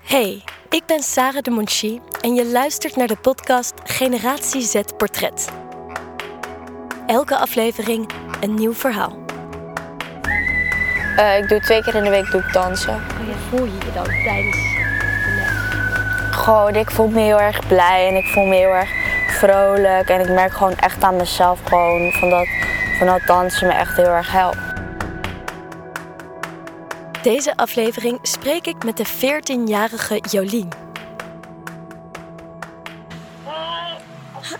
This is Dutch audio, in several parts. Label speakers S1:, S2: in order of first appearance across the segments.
S1: Hey, ik ben Sarah de Monchi en je luistert naar de podcast Generatie Z Portret. Elke aflevering een nieuw verhaal.
S2: Eh, ik doe twee keer in de week doe ik dansen.
S1: Hoe voel je je dan tijdens
S2: Gewoon, ik voel me heel erg blij en ik voel me heel erg vrolijk. En ik merk gewoon echt aan mezelf gewoon van dat, van dat dansen me echt heel erg helpt.
S1: Deze aflevering spreek ik met de 14-jarige Jolien.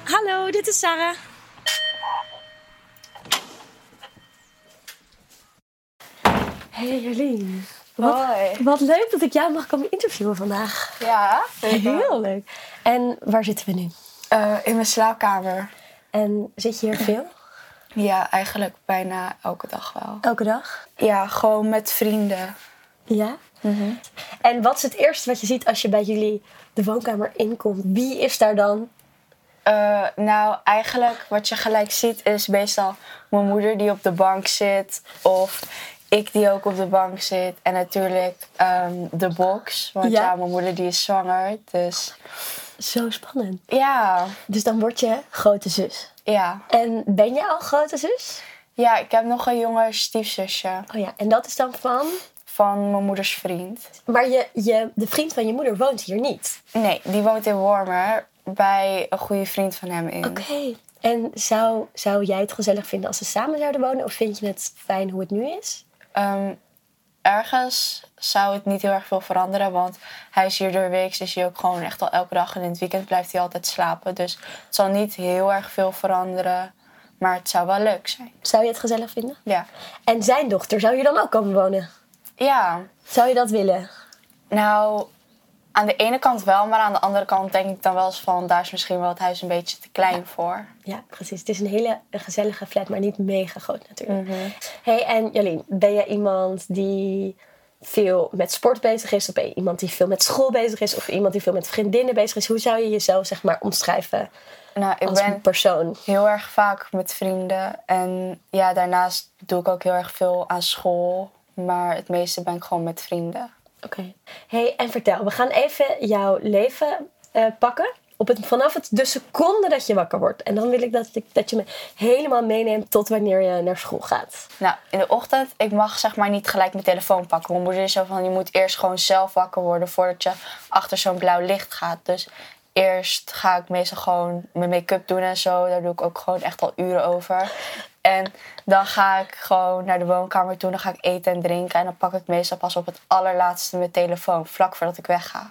S1: Hallo, dit is Sarah. Hey Jolien. Wat,
S2: Hoi.
S1: wat leuk dat ik jou mag komen interviewen vandaag.
S2: Ja,
S1: Heel leuk. En waar zitten we nu?
S2: Eh, in mijn slaapkamer.
S1: En zit je hier veel?
S2: Ja, eigenlijk bijna elke dag wel.
S1: Elke dag?
S2: Ja, gewoon met vrienden.
S1: Ja. Mhm. En wat is het eerste wat je ziet als je bij jullie de woonkamer inkomt? Wie is daar dan?
S2: Eh, nou, eigenlijk wat je gelijk ziet is meestal mijn moeder die op de bank zit. Of ik die ook op de bank zit. En natuurlijk ehm, de box. Want
S1: Ja.
S2: ja. mijn moeder die is zwanger. Dus
S1: Zo spannend.
S2: ja,
S1: Dus dan word je grote zus.
S2: ja.
S1: En ben je al grote zus?
S2: Ja, ik heb nog een jonger stiefzusje
S1: Oh ja, en dat is dan van...
S2: van mijn moeders vriend.
S1: Maar je, je, de vriend van je moeder woont hier niet.
S2: Nee, die woont in Wormer bij een goede vriend van hem in.
S1: Oké. En zou, zou jij het gezellig vinden als ze samen zouden wonen? Of vind je het fijn hoe het nu is?
S2: Ehm, ergens zou het niet heel erg veel veranderen, want hij is hier door weeks, is hij ook gewoon echt al elke dag en in het weekend blijft hij altijd slapen. Dus het zal niet heel erg veel veranderen, maar het zou wel leuk zijn.
S1: Zou je het gezellig vinden?
S2: Ja.
S1: En zijn dochter, zou je dan ook komen wonen?
S2: Ja,
S1: Zou je dat willen?
S2: nou, aan de ene kant wel, maar aan de andere kant denk ik dan wel eens van, daar is misschien wel het huis een beetje te klein voor.
S1: Ja, precies. Het is een hele gezellige flat, maar niet mega groot natuurlijk. Hey, en Jolien, ben jij iemand die veel met sport bezig is? Of ben je iemand die veel met school bezig is? Of iemand die veel met vriendinnen bezig is? Hoe zou je jezelf, zeg maar, omschrijven
S2: Nou, ik
S1: als
S2: ben
S1: een persoon?
S2: heel erg vaak met vrienden en ja, daarnaast doe ik ook heel erg veel aan school, maar het meeste ben ik gewoon met vrienden.
S1: Oké. Hey, en vertel, we gaan even jouw leven eh, pakken. Op het, vanaf het, de seconde dat je wakker wordt. En dan wil ik dat, ik dat je me helemaal meeneemt tot wanneer je naar school gaat.
S2: Nou, in de ochtend, ik mag zeg maar niet gelijk mijn telefoon pakken. Mijn moeder is zo van, je moet eerst gewoon zelf wakker worden voordat je achter zo'n blauw licht gaat. Dus eerst ga ik meestal gewoon mijn make-up doen en zo. Daar doe ik ook gewoon echt al uren over. En dan ga ik gewoon naar de woonkamer toe. Dan ga ik eten en drinken. En dan pak ik meestal pas op het allerlaatste mijn telefoon, vlak voordat ik wegga.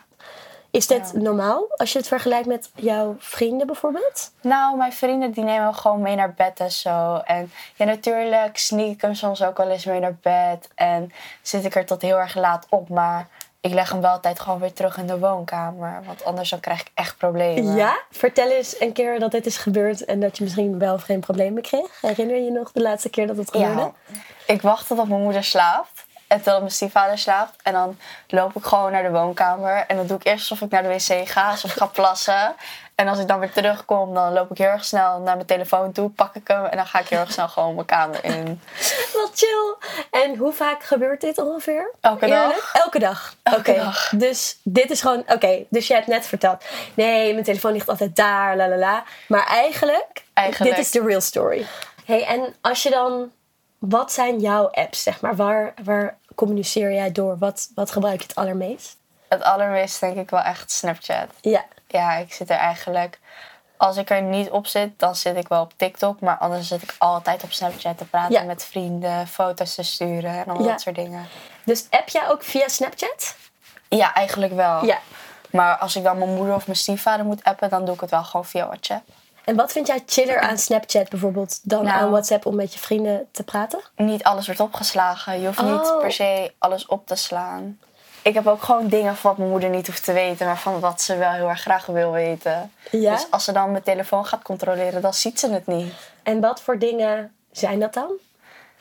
S1: Is dit normaal als je het vergelijkt met jouw vrienden bijvoorbeeld?
S2: Nou, mijn vrienden die nemen me gewoon mee naar bed en zo. En ja, natuurlijk sneak ik hem soms ook wel eens mee naar bed. En zit ik er tot heel erg laat op. Maar ik leg hem wel altijd gewoon weer terug in de woonkamer. Want anders dan krijg ik echt problemen.
S1: Ja? Vertel eens een keer dat dit is gebeurd en dat je misschien wel of geen problemen kreeg. Herinner je je nog de laatste keer dat het gebeurde?
S2: Ja. Ik wacht totdat mijn moeder slaapt. En totdat mijn stiefvader slaapt. En dan loop ik gewoon naar de woonkamer. En dan doe ik eerst alsof ik naar de wc ga. Alsof ik ga plassen. En als ik dan weer terugkom, dan loop ik heel erg snel naar mijn telefoon toe. Pak ik hem. En dan ga ik heel erg snel gewoon mijn kamer in.
S1: Wat chill! En hoe vaak gebeurt dit ongeveer?
S2: Elke dag.
S1: Elke dag. Oké.
S2: Elke dag.
S1: Dus dit is gewoon, oké, dus jij hebt net verteld. Nee, mijn telefoon ligt altijd daar, la la la. Maar eigenlijk,
S2: Eigenlijk.
S1: dit is de real story. hey, en als je dan, wat zijn jouw apps, zeg maar? Waar, waar communiceer jij door? Wat, wat gebruik je het allermeest?
S2: Het allermeest denk ik wel echt Snapchat.
S1: Ja.
S2: Ja, ik zit er eigenlijk. Als ik er niet op zit, dan zit ik wel op TikTok. Maar anders zit ik altijd op Snapchat te praten
S1: Ja.
S2: met vrienden, foto's te sturen en al
S1: Ja.
S2: dat soort dingen.
S1: Dus app jij ook via Snapchat?
S2: Ja, eigenlijk wel.
S1: Ja.
S2: Maar als ik dan mijn moeder of mijn stiefvader moet appen, dan doe ik het wel gewoon via WhatsApp.
S1: En wat vind jij chiller aan Snapchat bijvoorbeeld dan
S2: Nou.
S1: aan WhatsApp om met je vrienden te praten?
S2: Niet alles wordt opgeslagen. Je hoeft
S1: Oh.
S2: niet per se alles op te slaan. Ik heb ook gewoon dingen van wat mijn moeder niet hoeft te weten, maar van wat ze wel heel erg graag wil weten.
S1: Ja.
S2: Dus als ze dan mijn telefoon gaat controleren, dan ziet ze het niet.
S1: En wat voor dingen zijn dat dan?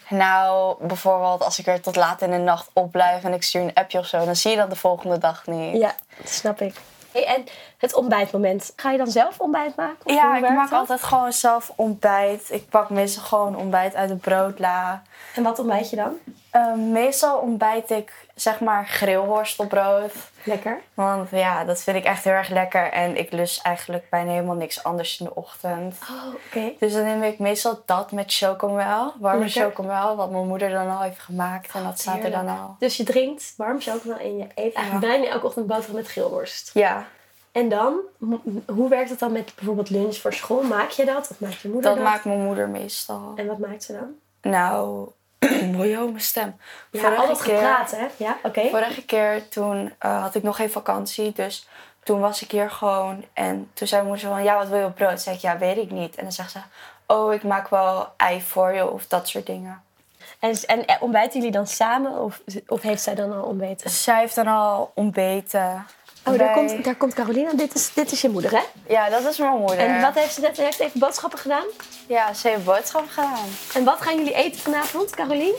S2: Nou, bijvoorbeeld als ik er tot laat in de nacht op blijf en ik stuur een appje of zo, dan zie je dat de volgende dag niet.
S1: Ja, dat snap ik. Hey, en het ontbijtmoment. Ga je dan zelf ontbijt maken? Of hoe
S2: Ja, ik
S1: werkt
S2: maak
S1: dat?
S2: altijd gewoon zelf ontbijt. Ik pak meestal gewoon ontbijt uit de broodla.
S1: En wat ontbijt je dan?
S2: Ehm, meestal ontbijt ik zeg maar grillworst op brood.
S1: Lekker.
S2: Want ja, dat vind ik echt heel erg lekker. En ik lust eigenlijk bijna helemaal niks anders in de ochtend.
S1: Oh, oké.
S2: Dus dan neem ik meestal dat met chocomel. Warme
S1: Lekker.
S2: chocomel, wat mijn moeder dan al heeft gemaakt. En dat staat er dan al.
S1: Dus je drinkt warm chocomel en je eet
S2: Ja.
S1: bijna elke ochtend boterham met grillworst.
S2: Ja,
S1: En dan, m- hoe werkt het dan met bijvoorbeeld lunch voor school? Maak je dat? Of maakt je moeder
S2: dat
S1: dat?
S2: maakt mijn moeder meestal.
S1: En wat maakt ze dan?
S2: Nou, mooi oh, mijn stem.
S1: Ja,
S2: Vorige
S1: al dat
S2: keer-
S1: gepraat, hè? Ja, oké.
S2: Vorige keer toen eh, had ik nog geen vakantie, dus toen was ik hier gewoon. En toen zei mijn moeder zo van, ja, wat wil je op brood? Toen zei ik, ja, weet ik niet. En dan zegt ze, oh, ik maak wel ei voor je of dat soort dingen.
S1: En, en eh, ontbijten jullie dan samen of, of heeft zij dan al ontbeten?
S2: Zij heeft dan al ontbeten.
S1: Oh, daar
S2: Wij-
S1: komt, daar komt Carolina. Dit is, dit is je moeder, hè?
S2: Ja, dat is mijn moeder.
S1: En wat heeft ze net? Ze heeft even boodschappen gedaan.
S2: Ja, ze heeft boodschap gedaan.
S1: En wat gaan jullie eten vanavond, Carolien?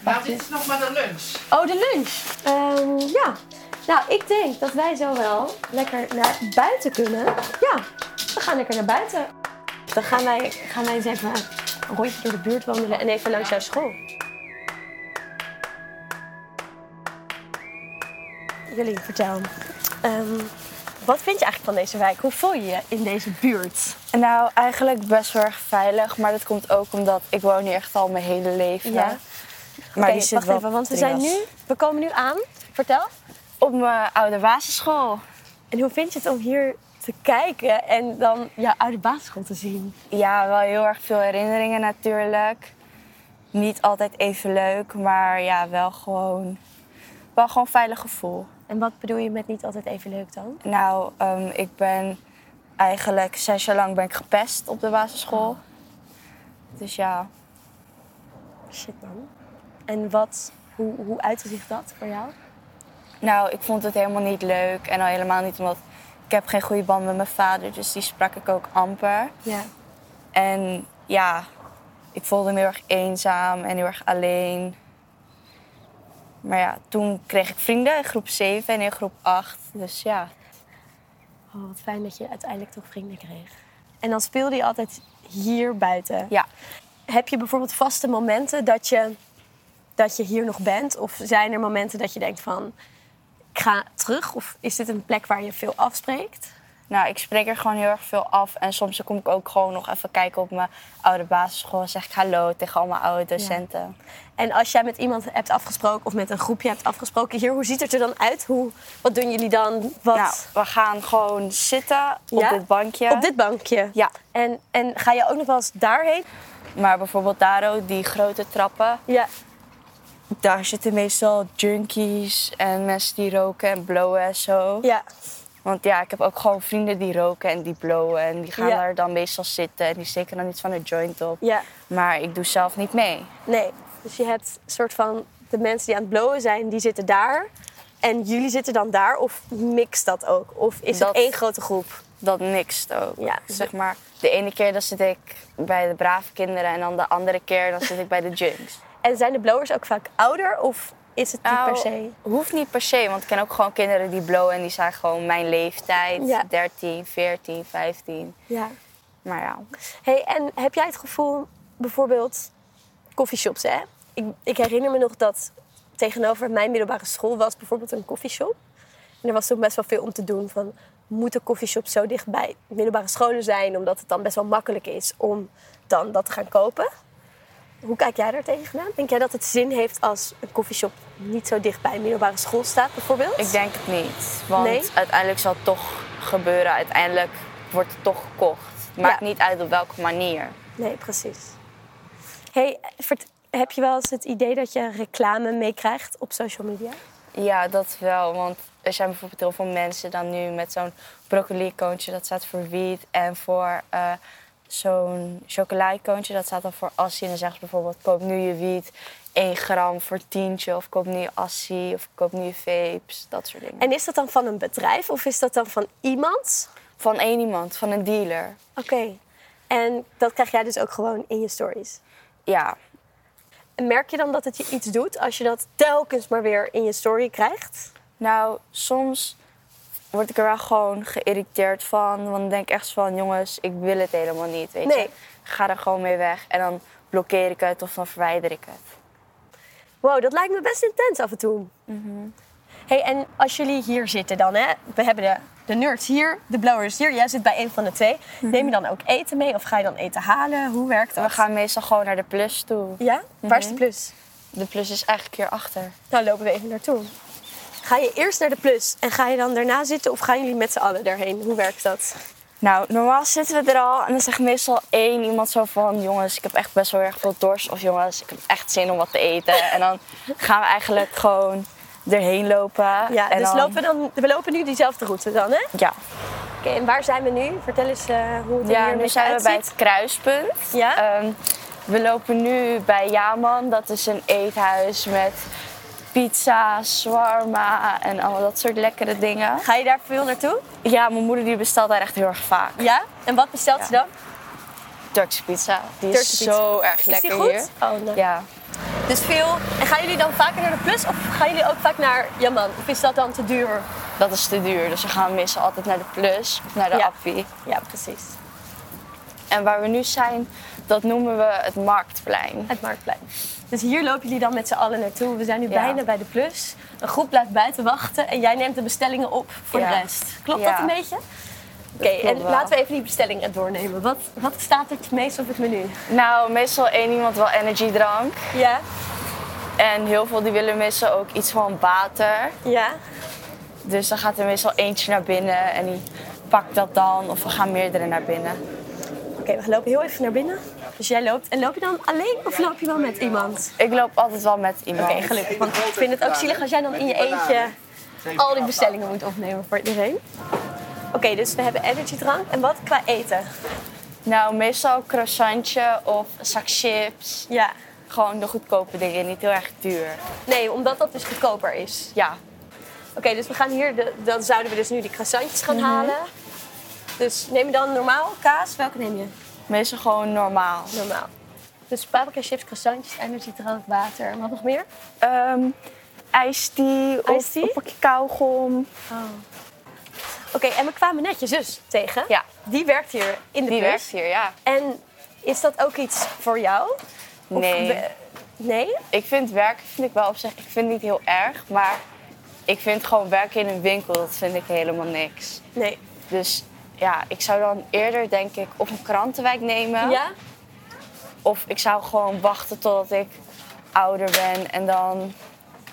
S3: Maar dit is nog maar de lunch.
S1: Oh, de lunch. Ehm, ja. Nou, ik denk dat wij zo wel lekker naar buiten kunnen. Ja, we gaan lekker naar buiten. Dan gaan wij, gaan wij eens even een rondje door de buurt wandelen en even langs jouw school. Jullie, vertel. Ehm, wat vind je eigenlijk van deze wijk? Hoe voel je je in deze buurt?
S2: Nou, eigenlijk best wel erg veilig. Maar dat komt ook omdat ik woon hier echt al mijn hele leven.
S1: Ja.
S2: Maar
S1: Oké,
S2: die zit
S1: wacht
S2: wel
S1: even,
S2: op
S1: want we,
S2: drie
S1: zijn
S2: was.
S1: nu, we komen nu aan. Vertel.
S2: op mijn oude basisschool.
S1: En hoe vind je het om hier te kijken en dan jouw oude basisschool te zien?
S2: Ja, wel heel erg veel herinneringen natuurlijk. Niet altijd even leuk, maar ja, wel gewoon, wel gewoon een veilig gevoel.
S1: En wat bedoel je met niet altijd even leuk dan?
S2: Nou, ehm, ik ben eigenlijk zes jaar lang ben ik gepest op de basisschool. Dus ja,
S1: Shit man. En wat, hoe, hoe uitte zich dat voor jou?
S2: nou, ik vond het helemaal niet leuk. En al helemaal niet omdat ik heb geen goede band met mijn vader, dus die sprak ik ook amper.
S1: Ja.
S2: En ja, ik voelde me heel erg eenzaam en heel erg alleen. Maar ja, toen kreeg ik vrienden in groep 7 en in groep 8. Dus ja.
S1: Oh, wat fijn dat je uiteindelijk toch vrienden kreeg. En dan speelde je altijd hier buiten.
S2: ja.
S1: Heb je bijvoorbeeld vaste momenten dat je, dat je hier nog bent? Of zijn er momenten dat je denkt van, ik ga terug? Of is dit een plek waar je veel afspreekt?
S2: Nou, ik spreek er gewoon heel erg veel af. En soms kom ik ook gewoon nog even kijken op mijn oude basisschool. En zeg ik hallo tegen al mijn oude docenten.
S1: En als jij met iemand hebt afgesproken of met een groepje hebt afgesproken hier, hoe ziet het er dan uit? Hoe, wat doen jullie dan? Wat
S2: Nou, we gaan gewoon zitten op
S1: Ja?
S2: dit bankje.
S1: op dit bankje?
S2: Ja.
S1: En, en ga je ook nog wel eens daarheen?
S2: Maar bijvoorbeeld daar ook, die grote trappen.
S1: Ja.
S2: Daar zitten meestal junkies en mensen die roken en blowen en zo.
S1: ja.
S2: Want ja, ik heb ook gewoon vrienden die roken en die blowen. En die gaan
S1: Ja.
S2: daar dan meestal zitten en die steken dan iets van een joint op.
S1: Ja.
S2: Maar ik doe zelf niet mee.
S1: Nee. Dus je hebt een soort van de mensen die aan het blowen zijn, die zitten daar. En jullie zitten dan daar of mixt dat ook? Of is
S2: Dat-
S1: het één grote groep?
S2: Dat niks ook.
S1: Ja.
S2: Zeg maar, de ene keer dan zit ik bij de brave kinderen en dan de andere keer dan zit ik bij de junks. Nou,
S1: En zijn de blowers ook vaak ouder of is het niet per se?
S2: Hoeft niet per se, want ik ken ook gewoon kinderen die blowen en die zijn gewoon mijn leeftijd.
S1: Ja.
S2: 13, 14, 15.
S1: Ja.
S2: Maar ja.
S1: Hey, en heb jij het gevoel, bijvoorbeeld koffieshops, hè? Ik, ik herinner me nog dat tegenover mijn middelbare school was bijvoorbeeld een koffieshop. En er was toen best wel veel om te doen van... moeten koffieshops zo dicht bij middelbare scholen zijn... omdat het dan best wel makkelijk is om dan dat te gaan kopen? Hoe kijk jij daar tegenaan? Denk jij dat het zin heeft als een koffieshop niet zo dicht bij een middelbare school staat bijvoorbeeld?
S2: Ik denk het niet. Want
S1: Nee?
S2: uiteindelijk zal het toch gebeuren. Uiteindelijk wordt het toch gekocht. Maakt
S1: Ja.
S2: niet uit op welke manier.
S1: Nee, precies. Hey, vert- heb je wel eens het idee dat je reclame meekrijgt op social media?
S2: Ja, dat wel. Want er zijn bijvoorbeeld heel veel mensen dan nu met zo'n broccoli-koontje. Dat staat voor wiet. En voor eh, zo'n chocola-koontje. Dat staat dan voor assie. En dan zeggen ze bijvoorbeeld, koop nu je wiet. 1 gram voor tientje. Of koop nu je assie. Of koop nu je vapes. Dat soort dingen.
S1: En is dat dan van een bedrijf of is dat dan van iemand?
S2: Van één iemand. Van een dealer.
S1: Oké. En dat krijg jij dus ook gewoon in je stories.
S2: Ja.
S1: En merk je dan dat het je iets doet als je dat telkens maar weer in je story krijgt?
S2: Nou, soms word ik er wel gewoon geïrriteerd van. Want dan denk ik echt van, jongens, ik wil het helemaal niet, weet
S1: Nee.
S2: je. Ga er gewoon mee weg. En dan blokkeer ik het of dan verwijder ik het.
S1: Wow, dat lijkt me best intens af en toe. Mhm. hey, en als jullie hier zitten dan, hè? We hebben de, de nerds hier, de blowers hier. Jij zit bij een van de twee. Neem je dan ook eten mee of ga je dan eten halen? Hoe werkt dat? Mhm.
S2: We gaan meestal gewoon naar de plus toe.
S1: Ja? Waar is de plus?
S2: De plus is eigenlijk hierachter.
S1: Nou, lopen we even naartoe. Ga je eerst naar de plus en ga je dan daarna zitten of gaan jullie met z'n allen daarheen? Hoe werkt dat?
S2: Nou, normaal zitten we er al en dan zegt meestal één iemand zo van... jongens, ik heb echt best wel erg veel dorst. Of jongens, ik heb echt zin om wat te eten. En dan gaan we eigenlijk gewoon erheen lopen.
S1: Ja,
S2: en
S1: dus
S2: dan-
S1: lopen we, dan, we lopen nu diezelfde route dan, hè?
S2: Ja,
S1: Oké, en waar zijn we nu? Vertel eens eh, hoe het er
S2: ja
S1: hier een
S2: nu
S1: beetje
S2: zijn we bij
S1: uitziet.
S2: het kruispunt.
S1: Ja?
S2: Ehm, we lopen nu bij Yaman. Dat is een eethuis met pizza, shawarma en allemaal dat soort lekkere dingen.
S1: Ga je daar veel naartoe?
S2: Ja, mijn moeder die bestelt daar echt heel erg vaak.
S1: Ja? En wat bestelt ze
S2: Ja.
S1: dan?
S2: Turkse pizza. Die is
S1: Turkse pizza.
S2: zo erg lekker
S1: is die goed?
S2: hier.
S1: Oh, nee.
S2: Ja.
S1: Dus veel. En gaan jullie dan vaker naar de plus of gaan jullie ook vaak naar Jaman? Of is dat dan te duur?
S2: Dat is te duur, dus we gaan meestal altijd naar de Plus of naar de
S1: Ja.
S2: Appie.
S1: Ja, precies.
S2: En waar we nu zijn, dat noemen we het Marktplein.
S1: Het marktplein. Dus hier lopen jullie dan met z'n allen naartoe. We zijn nu
S2: Ja.
S1: bijna bij de plus. Een groep blijft buiten wachten en jij neemt de bestellingen op voor de
S2: Ja.
S1: rest. Klopt
S2: Ja.
S1: dat een beetje? Oké, en
S2: klopt wel.
S1: laten we even die bestellingen doornemen. Wat, wat staat er het meest op het menu?
S2: Nou, meestal één iemand wil energiedrank.
S1: Ja,
S2: En heel veel die willen meestal ook iets van water.
S1: ja.
S2: Dus dan gaat er meestal eentje naar binnen en die pakt dat dan. Of we gaan meerdere naar binnen.
S1: Oké, we lopen heel even naar binnen. Dus jij loopt. En loop je dan alleen of loop je wel met iemand?
S2: Ik loop altijd wel met iemand.
S1: Oké, gelukkig. Want ik vind het ook zielig als jij dan in je eentje al die bestellingen moet opnemen voor iedereen. Oké, dus we hebben energiedrank. En wat qua eten?
S2: Nou, meestal croissantje of een zak chips.
S1: Ja.
S2: Gewoon de goedkope dingen, niet heel erg duur.
S1: Nee, omdat dat dus goedkoper is.
S2: Ja,
S1: Oké, dus we gaan hier, de, dan zouden we dus nu die croissantjes gaan halen. Dus neem je dan normaal kaas? Welke neem je?
S2: meestal gewoon normaal.
S1: Normaal. Dus paprika chips, croissantjes, energiedrank, water en wat nog meer?
S2: Ehm ijstie
S1: Iced
S2: of
S1: tea?
S2: een pakje kauwgom.
S1: Oké, en we kwamen net je zus tegen.
S2: Ja.
S1: Die werkt hier in de
S2: Die
S1: bus.
S2: werkt hier, ja.
S1: En is dat ook iets voor jou? Of
S2: Nee,
S1: we- nee?
S2: ik vind werken vind ik wel op zich, ik vind het niet heel erg, maar ik vind gewoon werken in een winkel, dat vind ik helemaal niks.
S1: Nee.
S2: Dus ja, ik zou dan eerder denk ik op een krantenwijk nemen.
S1: Ja?
S2: Of ik zou gewoon wachten totdat ik ouder ben en dan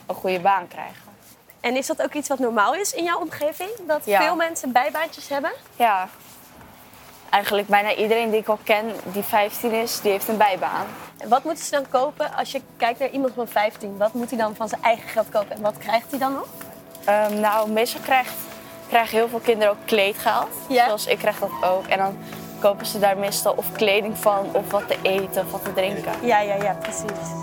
S2: een goede baan krijgen.
S1: En is dat ook iets wat normaal is in jouw omgeving? Dat
S2: Ja.
S1: veel mensen bijbaantjes hebben?
S2: Ja. Eigenlijk bijna iedereen die ik al ken die 15 is, die heeft een bijbaan.
S1: En wat moeten ze dan kopen als je kijkt naar iemand van 15? Wat moet hij dan van zijn eigen geld kopen en wat krijgt hij dan nog?
S2: Ehm, nou, meestal krijgt, krijgen heel veel kinderen ook kleedgeld.
S1: Ja.
S2: Zoals ik krijg dat ook. En dan kopen ze daar meestal of kleding van, of wat te eten, of wat te drinken.
S1: Ja, ja, ja, precies.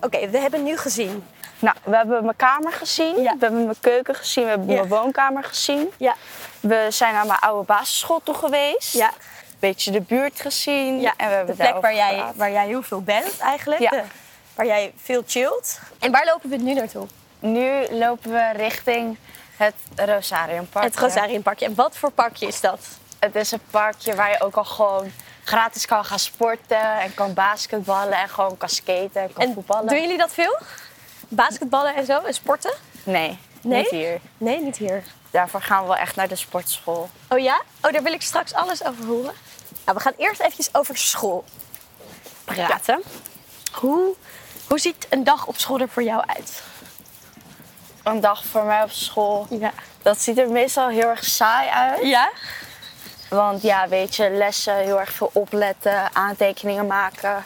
S1: Oké, we hebben nu gezien.
S2: Nou, we hebben mijn kamer gezien.
S1: Ja.
S2: We hebben mijn keuken gezien. We hebben
S1: Ja.
S2: mijn woonkamer gezien.
S1: Ja,
S2: We zijn naar mijn oude basisschool toe geweest.
S1: ja,
S2: Een beetje de buurt gezien.
S1: ja.
S2: En we hebben
S1: de plek
S2: daarover
S1: waar jij,
S2: gepraat.
S1: waar jij heel veel bent eigenlijk.
S2: Ja.
S1: De- waar jij veel chillt. En waar lopen we nu naartoe?
S2: Nu lopen we richting het Rosariumpark.
S1: Het Rosariumparkje. En wat voor parkje is dat?
S2: Het is een parkje waar je ook al gewoon gratis kan gaan sporten en kan basketballen en gewoon kan skaten en kan
S1: En
S2: voetballen.
S1: doen jullie dat veel? Basketballen en zo en sporten?
S2: Nee,
S1: Nee?
S2: niet hier.
S1: Nee, niet hier.
S2: Daarvoor gaan we wel echt naar de sportschool.
S1: Oh ja? Oh, daar wil ik straks alles over horen. Nou, we gaan eerst even over school praten. Hoe, hoe ziet een dag op school er voor jou uit?
S2: Een dag voor mij op school,
S1: Ja.
S2: dat ziet er meestal heel erg saai uit.
S1: Ja?
S2: Want ja, weet je, lessen, heel erg veel opletten, aantekeningen maken,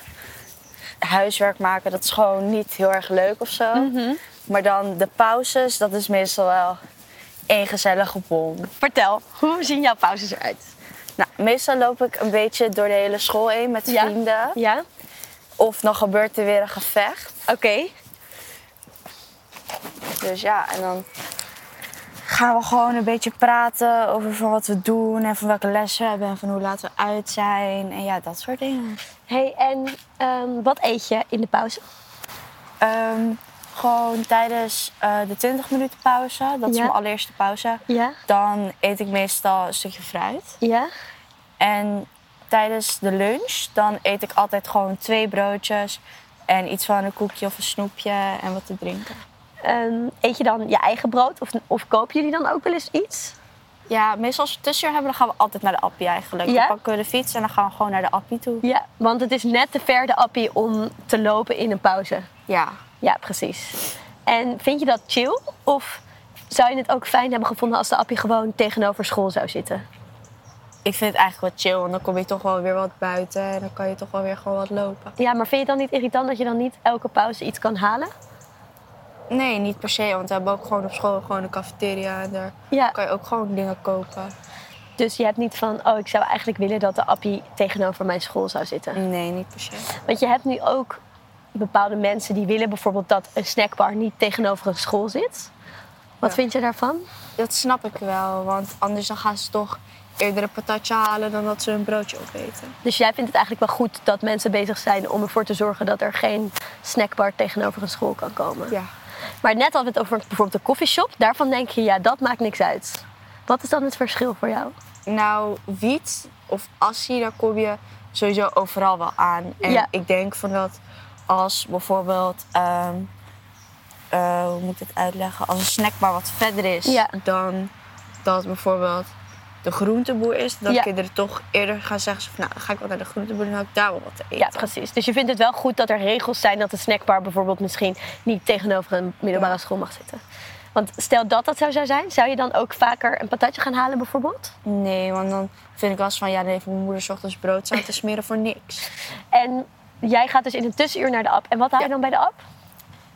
S2: huiswerk maken, dat is gewoon niet heel erg leuk of zo. Maar dan de pauzes, dat is meestal wel één gezellige bom.
S1: Vertel, hoe zien jouw pauzes eruit?
S2: Nou, meestal loop ik een beetje door de hele school heen met
S1: Ja.
S2: vrienden.
S1: Ja?
S2: Of dan gebeurt er weer een gevecht.
S1: Oké.
S2: Dus ja, en dan gaan we gewoon een beetje praten over van wat we doen en van welke lessen we hebben en van hoe laat we uit zijn. En ja, dat soort dingen.
S1: hey, en ehm, wat eet je in de pauze?
S2: Ehm, gewoon tijdens eh, de 20 minuten pauze, dat is
S1: Ja.
S2: mijn allereerste pauze,
S1: Ja?
S2: dan eet ik meestal een stukje fruit.
S1: Ja?
S2: En tijdens de lunch, dan eet ik altijd gewoon twee broodjes en iets van een koekje of een snoepje en wat te drinken.
S1: Ehm, eet je dan je eigen brood of, of kopen jullie dan ook wel eens iets?
S2: Ja, meestal als we tussenuur hebben, dan gaan we altijd naar de appie eigenlijk.
S1: Ja?
S2: Dan pakken we de fiets en dan gaan we gewoon naar de appie toe.
S1: Ja, want het is net te ver de appie om te lopen in een pauze.
S2: Ja.
S1: Ja, precies. En vind je dat chill? Of zou je het ook fijn hebben gevonden als de appie gewoon tegenover school zou zitten?
S2: Ik vind het eigenlijk wel chill, want dan kom je toch wel weer wat buiten en dan kan je toch wel weer gewoon wat lopen.
S1: Ja, maar vind je het dan niet irritant dat je dan niet elke pauze iets kan halen?
S2: Nee, niet per se, want we hebben ook gewoon op school gewoon een cafeteria en daar
S1: Ja,
S2: kan je ook gewoon dingen kopen.
S1: dus je hebt niet van, oh, ik zou eigenlijk willen dat de appie tegenover mijn school zou zitten.
S2: Nee, niet per se.
S1: Want je hebt nu ook bepaalde mensen die willen bijvoorbeeld dat een snackbar niet tegenover een school zit. Wat
S2: Ja.
S1: vind je daarvan?
S2: Dat snap ik wel, want anders dan gaan ze toch eerder een patatje halen dan dat ze een broodje opeten.
S1: Dus jij vindt het eigenlijk wel goed dat mensen bezig zijn om ervoor te zorgen dat er geen snackbar tegenover een school kan komen.
S2: Ja.
S1: Maar net hadden we het over bijvoorbeeld de koffieshop. Daarvan denk je, ja, dat maakt niks uit. Wat is dan het verschil voor jou?
S2: Nou, wiet of assie, daar kom je sowieso overal wel aan. En
S1: Ja.
S2: ik denk van dat als bijvoorbeeld, ehm, eh, hoe moet ik het uitleggen, als een snackbar wat verder is
S1: Ja.
S2: dan dat bijvoorbeeld de groenteboer is, dan
S1: Ja.
S2: kinderen toch eerder gaan zeggen, zo van, nou, dan ga ik wel naar de groenteboer, dan hou ik daar wel wat te eten.
S1: Ja, precies. Dus je vindt het wel goed dat er regels zijn dat een snackbar bijvoorbeeld misschien niet tegenover een middelbare
S2: Ja.
S1: school mag zitten. Want stel dat dat zo zou zijn, zou je dan ook vaker een patatje gaan halen bijvoorbeeld?
S2: Nee, want dan vind ik wel eens van, ja, dan heeft mijn moeder 's ochtends brood aan te smeren voor niks.
S1: En jij gaat dus in een tussenuur naar de app. En wat haal je dan bij de app?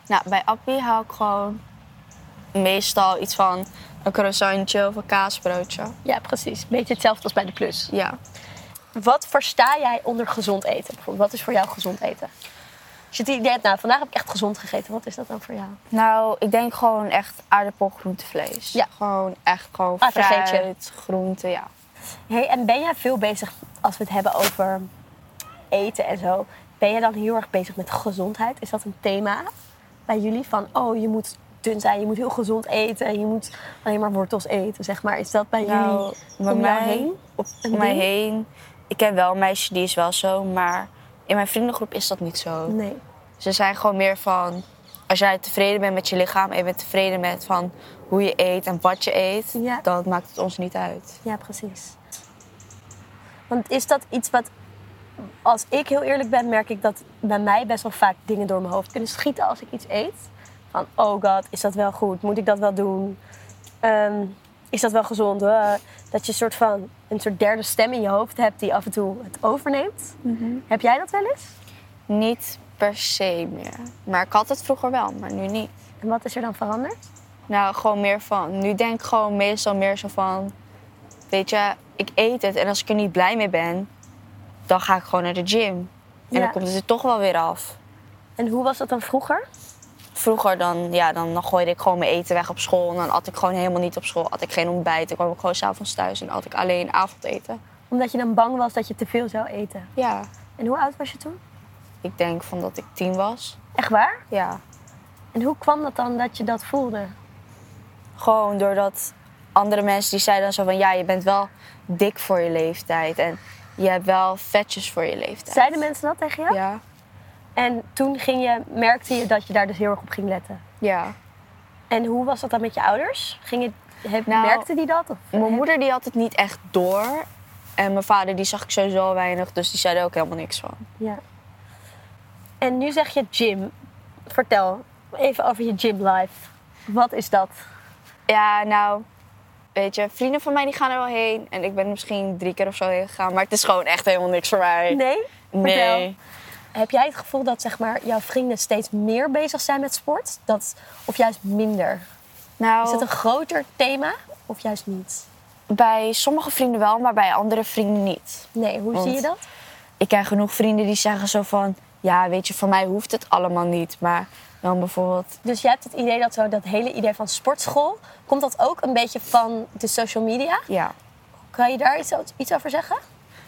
S2: Nou, bij Appie haal ik gewoon meestal iets van een croissantje of een kaasbroodje.
S1: Ja, precies. Beetje hetzelfde als bij de plus.
S2: Ja.
S1: Wat versta jij onder gezond eten? Bijvoorbeeld, wat is voor jou gezond eten? Als je het idee hebt, nou, vandaag heb ik echt gezond gegeten. Wat is dat dan voor jou?
S2: Nou, ik denk gewoon echt aardappel, groente, vlees.
S1: Ja.
S2: Gewoon echt gewoon
S1: Ah, vergeet je.
S2: fruit, groente, ja.
S1: Hey, en ben jij veel bezig, als we het hebben over eten en zo, ben jij dan heel erg bezig met gezondheid? Is dat een thema bij jullie? Van, oh, je moet dun zijn, je moet heel gezond eten, je moet alleen maar wortels eten, zeg maar. Is dat bij
S2: Nou,
S1: jullie
S2: bij
S1: om jou
S2: mij-
S1: heen?
S2: Op
S1: Een
S2: mij
S1: ding?
S2: heen. Ik heb wel een meisje die is wel zo, maar in mijn vriendengroep is dat niet zo.
S1: Nee.
S2: Ze zijn gewoon meer van, als jij tevreden bent met je lichaam en je bent tevreden met van hoe je eet en wat je eet,
S1: Ja.
S2: dan maakt het ons niet uit.
S1: Ja, precies. Want is dat iets wat, als ik heel eerlijk ben, merk ik dat bij mij best wel vaak dingen door mijn hoofd kunnen schieten als ik iets eet. Van, oh god, is dat wel goed? Moet ik dat wel doen? Ehm, is dat wel gezond? Eh, dat je een soort van een soort derde stem in je hoofd hebt die af en toe het overneemt. Heb jij dat wel eens?
S2: Niet per se meer. Maar ik had het vroeger wel, maar nu niet.
S1: En wat is er dan veranderd?
S2: Nou, gewoon meer van. Nu denk ik gewoon meestal meer zo van. Weet je, ik eet het en als ik er niet blij mee ben, dan ga ik gewoon naar de gym. En
S1: Ja.
S2: dan komt het er toch wel weer af.
S1: En hoe was dat dan vroeger?
S2: Vroeger dan, ja, dan, dan gooide ik gewoon mijn eten weg op school. En dan at ik gewoon helemaal niet op school. At ik geen ontbijt. Dan kwam ik gewoon s'avonds thuis en at ik alleen avondeten.
S1: Omdat je dan bang was dat je te veel zou eten.
S2: Ja,
S1: En hoe oud was je toen?
S2: ik denk van dat ik tien was.
S1: Echt waar?
S2: Ja.
S1: En hoe kwam dat dan dat je dat voelde?
S2: Gewoon doordat andere mensen die zeiden dan zo van... Ja, je bent wel dik voor je leeftijd. En je hebt wel vetjes voor je leeftijd.
S1: Zeiden mensen dat tegen jou?
S2: Ja.
S1: En toen ging je, merkte je dat je daar dus heel erg op ging letten.
S2: Ja.
S1: En hoe was dat dan met je ouders? Ging je, heb,
S2: Nou,
S1: merkte die dat? Of,
S2: Mijn moeder die had het niet echt door. En mijn vader die zag ik sowieso al weinig, dus die zei er ook helemaal niks van.
S1: ja. En nu zeg je gym. Vertel even over je gymlife. Wat is dat?
S2: Ja, nou, weet je, vrienden van mij die gaan er wel heen. En ik ben er misschien drie keer of zo heen gegaan, maar het is gewoon echt helemaal niks voor mij.
S1: Nee? Vertel.
S2: Nee.
S1: Heb jij het gevoel dat zeg maar, jouw vrienden steeds meer bezig zijn met sport? Dat, of juist minder? Is
S2: Nou,
S1: het een groter thema of juist niet?
S2: bij sommige vrienden wel, maar bij andere vrienden niet.
S1: Nee, hoe zie
S2: Want-
S1: je dat?
S2: Ik ken genoeg vrienden die zeggen zo van, ja, weet je, voor mij hoeft het allemaal niet. Maar dan bijvoorbeeld,
S1: Dus jij hebt het idee dat zo dat hele idee van sportschool... komt dat ook een beetje van de social media?
S2: ja,
S1: Kan je daar iets, iets over zeggen?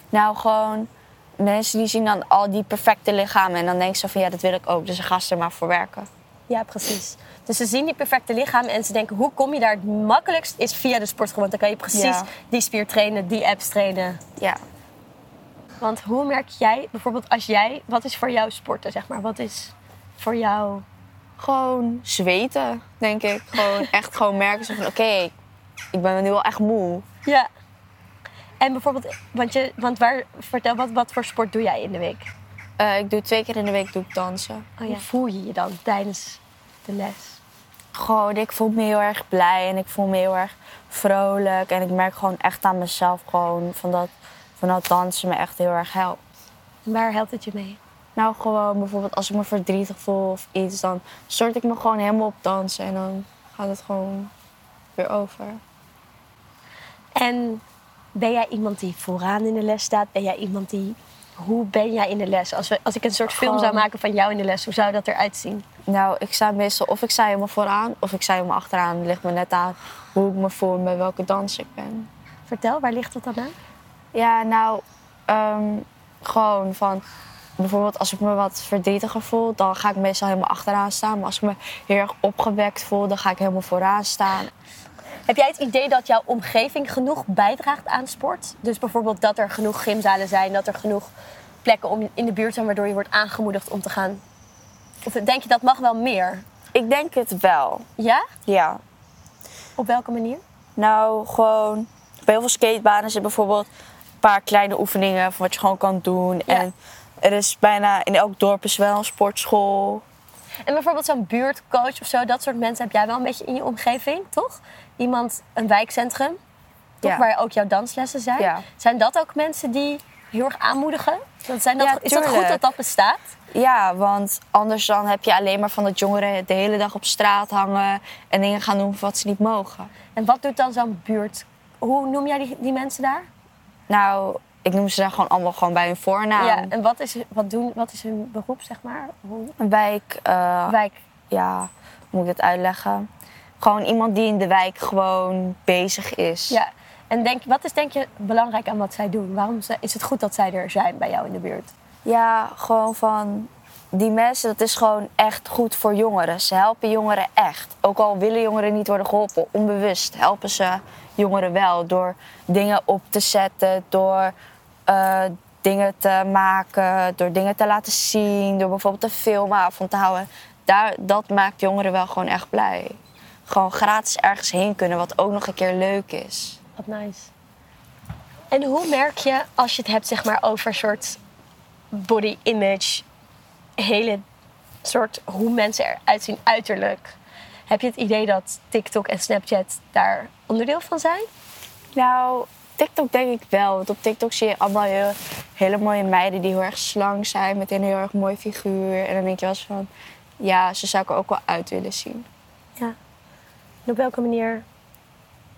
S2: Nou, gewoon mensen die zien dan al die perfecte lichamen. En dan denken ze van ja, dat wil ik ook. Dus dan gaan ze er maar voor werken.
S1: Ja, precies. Dus ze zien die perfecte lichaam en ze denken... hoe kom je daar het makkelijkst? Is via de sportschool. Want dan kan je precies
S2: Ja.
S1: die spier trainen, die apps trainen.
S2: Ja.
S1: Want hoe merk jij, bijvoorbeeld als jij, wat is voor jou sporten, zeg maar? Wat is voor jou...
S2: Gewoon zweten, denk ik. Gewoon echt gewoon merken zo van oké, ik ben nu wel echt moe.
S1: Ja. En bijvoorbeeld, want, je, want waar, vertel, wat, wat voor sport doe jij in de week?
S2: Eh, ik doe twee keer in de week doe ik dansen.
S1: Oh, Hoe voel je je dan tijdens de les?
S2: Gewoon, ik voel me heel erg blij en ik voel me heel erg vrolijk. En ik merk gewoon echt aan mezelf gewoon van dat, van dat dansen me echt heel erg helpt.
S1: En waar helpt het je mee?
S2: Nou, gewoon bijvoorbeeld als ik me verdrietig voel of iets, dan stort ik me gewoon helemaal op dansen. En dan gaat het gewoon weer over.
S1: En ben jij iemand die vooraan in de les staat? Ben jij iemand die... Hoe ben jij in de les? Als, we, als ik een soort film zou
S2: Gewoon-
S1: maken van jou in de les, hoe zou dat eruit zien?
S2: Nou, ik sta meestal of ik sta helemaal vooraan of ik sta helemaal achteraan. Het ligt me net aan hoe ik me voel en bij welke dans ik ben.
S1: Vertel, waar ligt dat dan aan?
S2: Ja, nou, ehm, gewoon van... Bijvoorbeeld als ik me wat verdrietiger voel, dan ga ik meestal helemaal achteraan staan. Maar als ik me heel erg opgewekt voel, dan ga ik helemaal vooraan staan.
S1: Heb jij het idee dat jouw omgeving genoeg bijdraagt aan sport? Dus bijvoorbeeld dat er genoeg gymzalen zijn, dat er genoeg plekken om in de buurt zijn waardoor je wordt aangemoedigd om te gaan? Of denk je dat mag wel meer?
S2: Ik denk het wel,
S1: Ja?
S2: ja.
S1: Op welke manier?
S2: Nou, gewoon bij heel veel skatebanen zitten bijvoorbeeld een paar kleine oefeningen van wat je gewoon kan doen.
S1: Ja.
S2: En er is bijna in elk dorp is wel een sportschool.
S1: En bijvoorbeeld zo'n buurtcoach of zo, dat soort mensen heb jij wel een beetje in je omgeving, toch? Iemand, een wijkcentrum, toch?
S2: Ja.
S1: Waar ook jouw danslessen zijn.
S2: Ja.
S1: Zijn dat ook mensen die heel erg aanmoedigen? Dat zijn dat,
S2: Ja,
S1: is dat goed
S2: tuurlijk.
S1: dat dat bestaat?
S2: Ja, want anders dan heb je alleen maar van dat jongeren de hele dag op straat hangen en dingen gaan doen wat ze niet mogen.
S1: En wat doet dan zo'n buurt? Hoe noem jij die, die mensen daar?
S2: Nou, ik noem ze daar gewoon allemaal gewoon bij hun voornaam.
S1: Ja, en wat is, wat, doen, wat is hun beroep, zeg maar? Hoe,
S2: Een wijk, eh,
S1: wijk.
S2: ja, hoe moet ik dat uitleggen? Gewoon iemand die in de wijk gewoon bezig is.
S1: Ja. En denk, wat is denk je belangrijk aan wat zij doen? Waarom ze- is het goed dat zij er zijn bij jou in de buurt?
S2: Ja, gewoon van die mensen, dat is gewoon echt goed voor jongeren. Ze helpen jongeren echt. Ook al willen jongeren niet worden geholpen, onbewust helpen ze jongeren wel door dingen op te zetten, door eh, dingen te maken, door dingen te laten zien, door bijvoorbeeld een filmavond te houden. Daar, dat maakt jongeren wel gewoon echt blij. Gewoon gratis ergens heen kunnen, wat ook nog een keer leuk is.
S1: Wat nice. En hoe merk je als je het hebt zeg maar, over een soort body image, hele soort hoe mensen eruit zien uiterlijk? Heb je het idee dat TikTok en Snapchat daar onderdeel van zijn?
S2: Nou, TikTok denk ik wel. Want op TikTok zie je allemaal heel- hele mooie meiden die heel erg slank zijn. Met een heel erg mooi figuur. En dan denk je wel eens van... Ja, ze zou ik er ook wel uit willen zien.
S1: Ja. En op welke manier,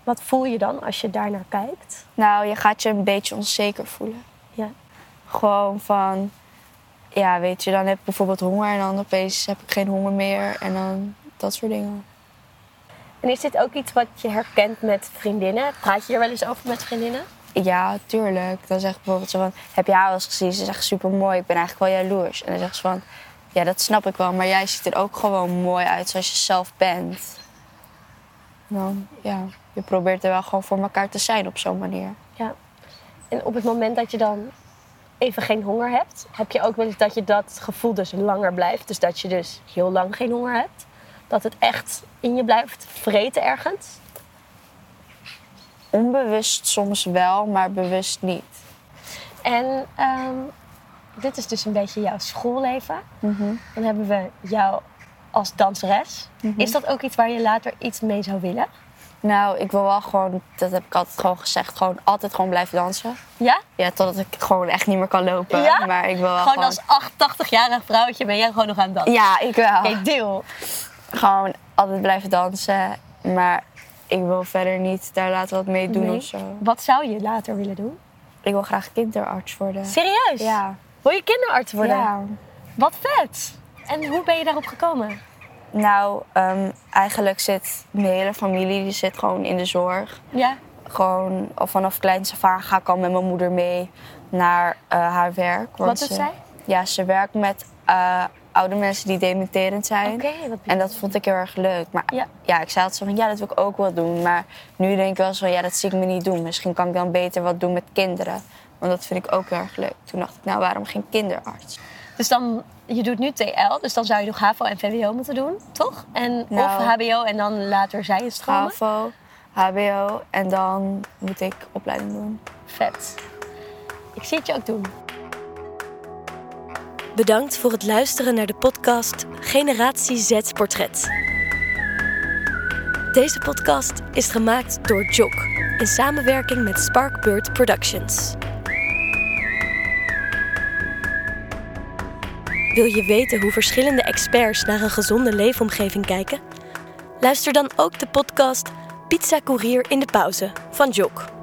S1: wat voel je dan als je daar naar kijkt?
S2: Nou, je gaat je een beetje onzeker voelen.
S1: Ja.
S2: Gewoon van... Ja, weet je, dan heb ik bijvoorbeeld honger. En dan opeens heb ik geen honger meer. En dan dat soort dingen.
S1: En is dit ook iets wat je herkent met vriendinnen? Praat je er wel eens over met vriendinnen?
S2: Ja, tuurlijk. Dan zeg ik bijvoorbeeld zo van... Heb je haar wel eens gezien? Ze is echt super mooi. Ik ben eigenlijk wel jaloers. En dan zegt ze van... Ja, dat snap ik wel. Maar jij ziet er ook gewoon mooi uit zoals je zelf bent. En Dan, ja. Je probeert er wel gewoon voor elkaar te zijn op zo'n manier.
S1: Ja. En op het moment dat je dan even geen honger hebt, heb je ook wel eens dat je dat gevoel dus langer blijft. Dus dat je dus heel lang geen honger hebt. Dat het echt in je blijft vreten ergens.
S2: Onbewust soms wel, maar bewust niet.
S1: En ehm, dit is dus een beetje jouw schoolleven.
S2: Mhm.
S1: Dan hebben we jou als danseres.
S2: Mhm.
S1: Is dat ook iets waar je later iets mee zou willen?
S2: Nou, ik wil wel gewoon... Dat heb ik altijd gewoon gezegd. Gewoon altijd gewoon blijven dansen.
S1: Ja?
S2: Ja, totdat ik gewoon echt niet meer kan lopen.
S1: Ja?
S2: Maar ik wil wel
S1: Gewoon
S2: gewoon...
S1: als 88-jarig vrouwtje ben jij gewoon nog aan het dansen.
S2: Ja, ik wel.
S1: Oké, deal.
S2: gewoon altijd blijven dansen. Maar ik wil verder niet daar laten wat mee doen
S1: Nee.
S2: of zo.
S1: Wat zou je later willen doen?
S2: Ik wil graag kinderarts worden.
S1: Serieus?
S2: Ja.
S1: Wil je kinderarts worden?
S2: ja.
S1: Wat vet! En hoe ben je daarop gekomen?
S2: Nou, ehm, eigenlijk zit mijn hele familie die zit gewoon in de zorg.
S1: Ja.
S2: Gewoon al vanaf kleins af aan ga ik al met mijn moeder mee naar eh, haar werk. want
S1: Wat doet
S2: ze-
S1: zij?
S2: Ja, ze werkt met eh, oude mensen die dementerend zijn.
S1: Oké, wat
S2: En dat vond ik heel erg leuk. Maar
S1: Ja.
S2: ja, ik zei altijd zo van, ja, dat wil ik ook wel doen. Maar nu denk ik wel zo van, ja, dat zie ik me niet doen. Misschien kan ik dan beter wat doen met kinderen. Want dat vind ik ook heel erg leuk. Toen dacht ik, nou waarom geen kinderarts?
S1: Dus dan, je doet nu TL, dus dan zou je nog HAVO en VWO moeten doen, toch? En,
S2: Nou.
S1: Of HBO en dan later zij het stromen.
S2: HAVO, HBO en dan moet ik opleiding doen.
S1: Vet. Ik zie het je ook doen.
S4: Bedankt voor het luisteren naar de podcast Generatie Z Portret. Deze podcast is gemaakt door Jock in samenwerking met Sparkbird Productions. Wil je weten hoe verschillende experts naar een gezonde leefomgeving kijken? Luister dan ook de podcast Pizza Courier in de Pauze van Jock.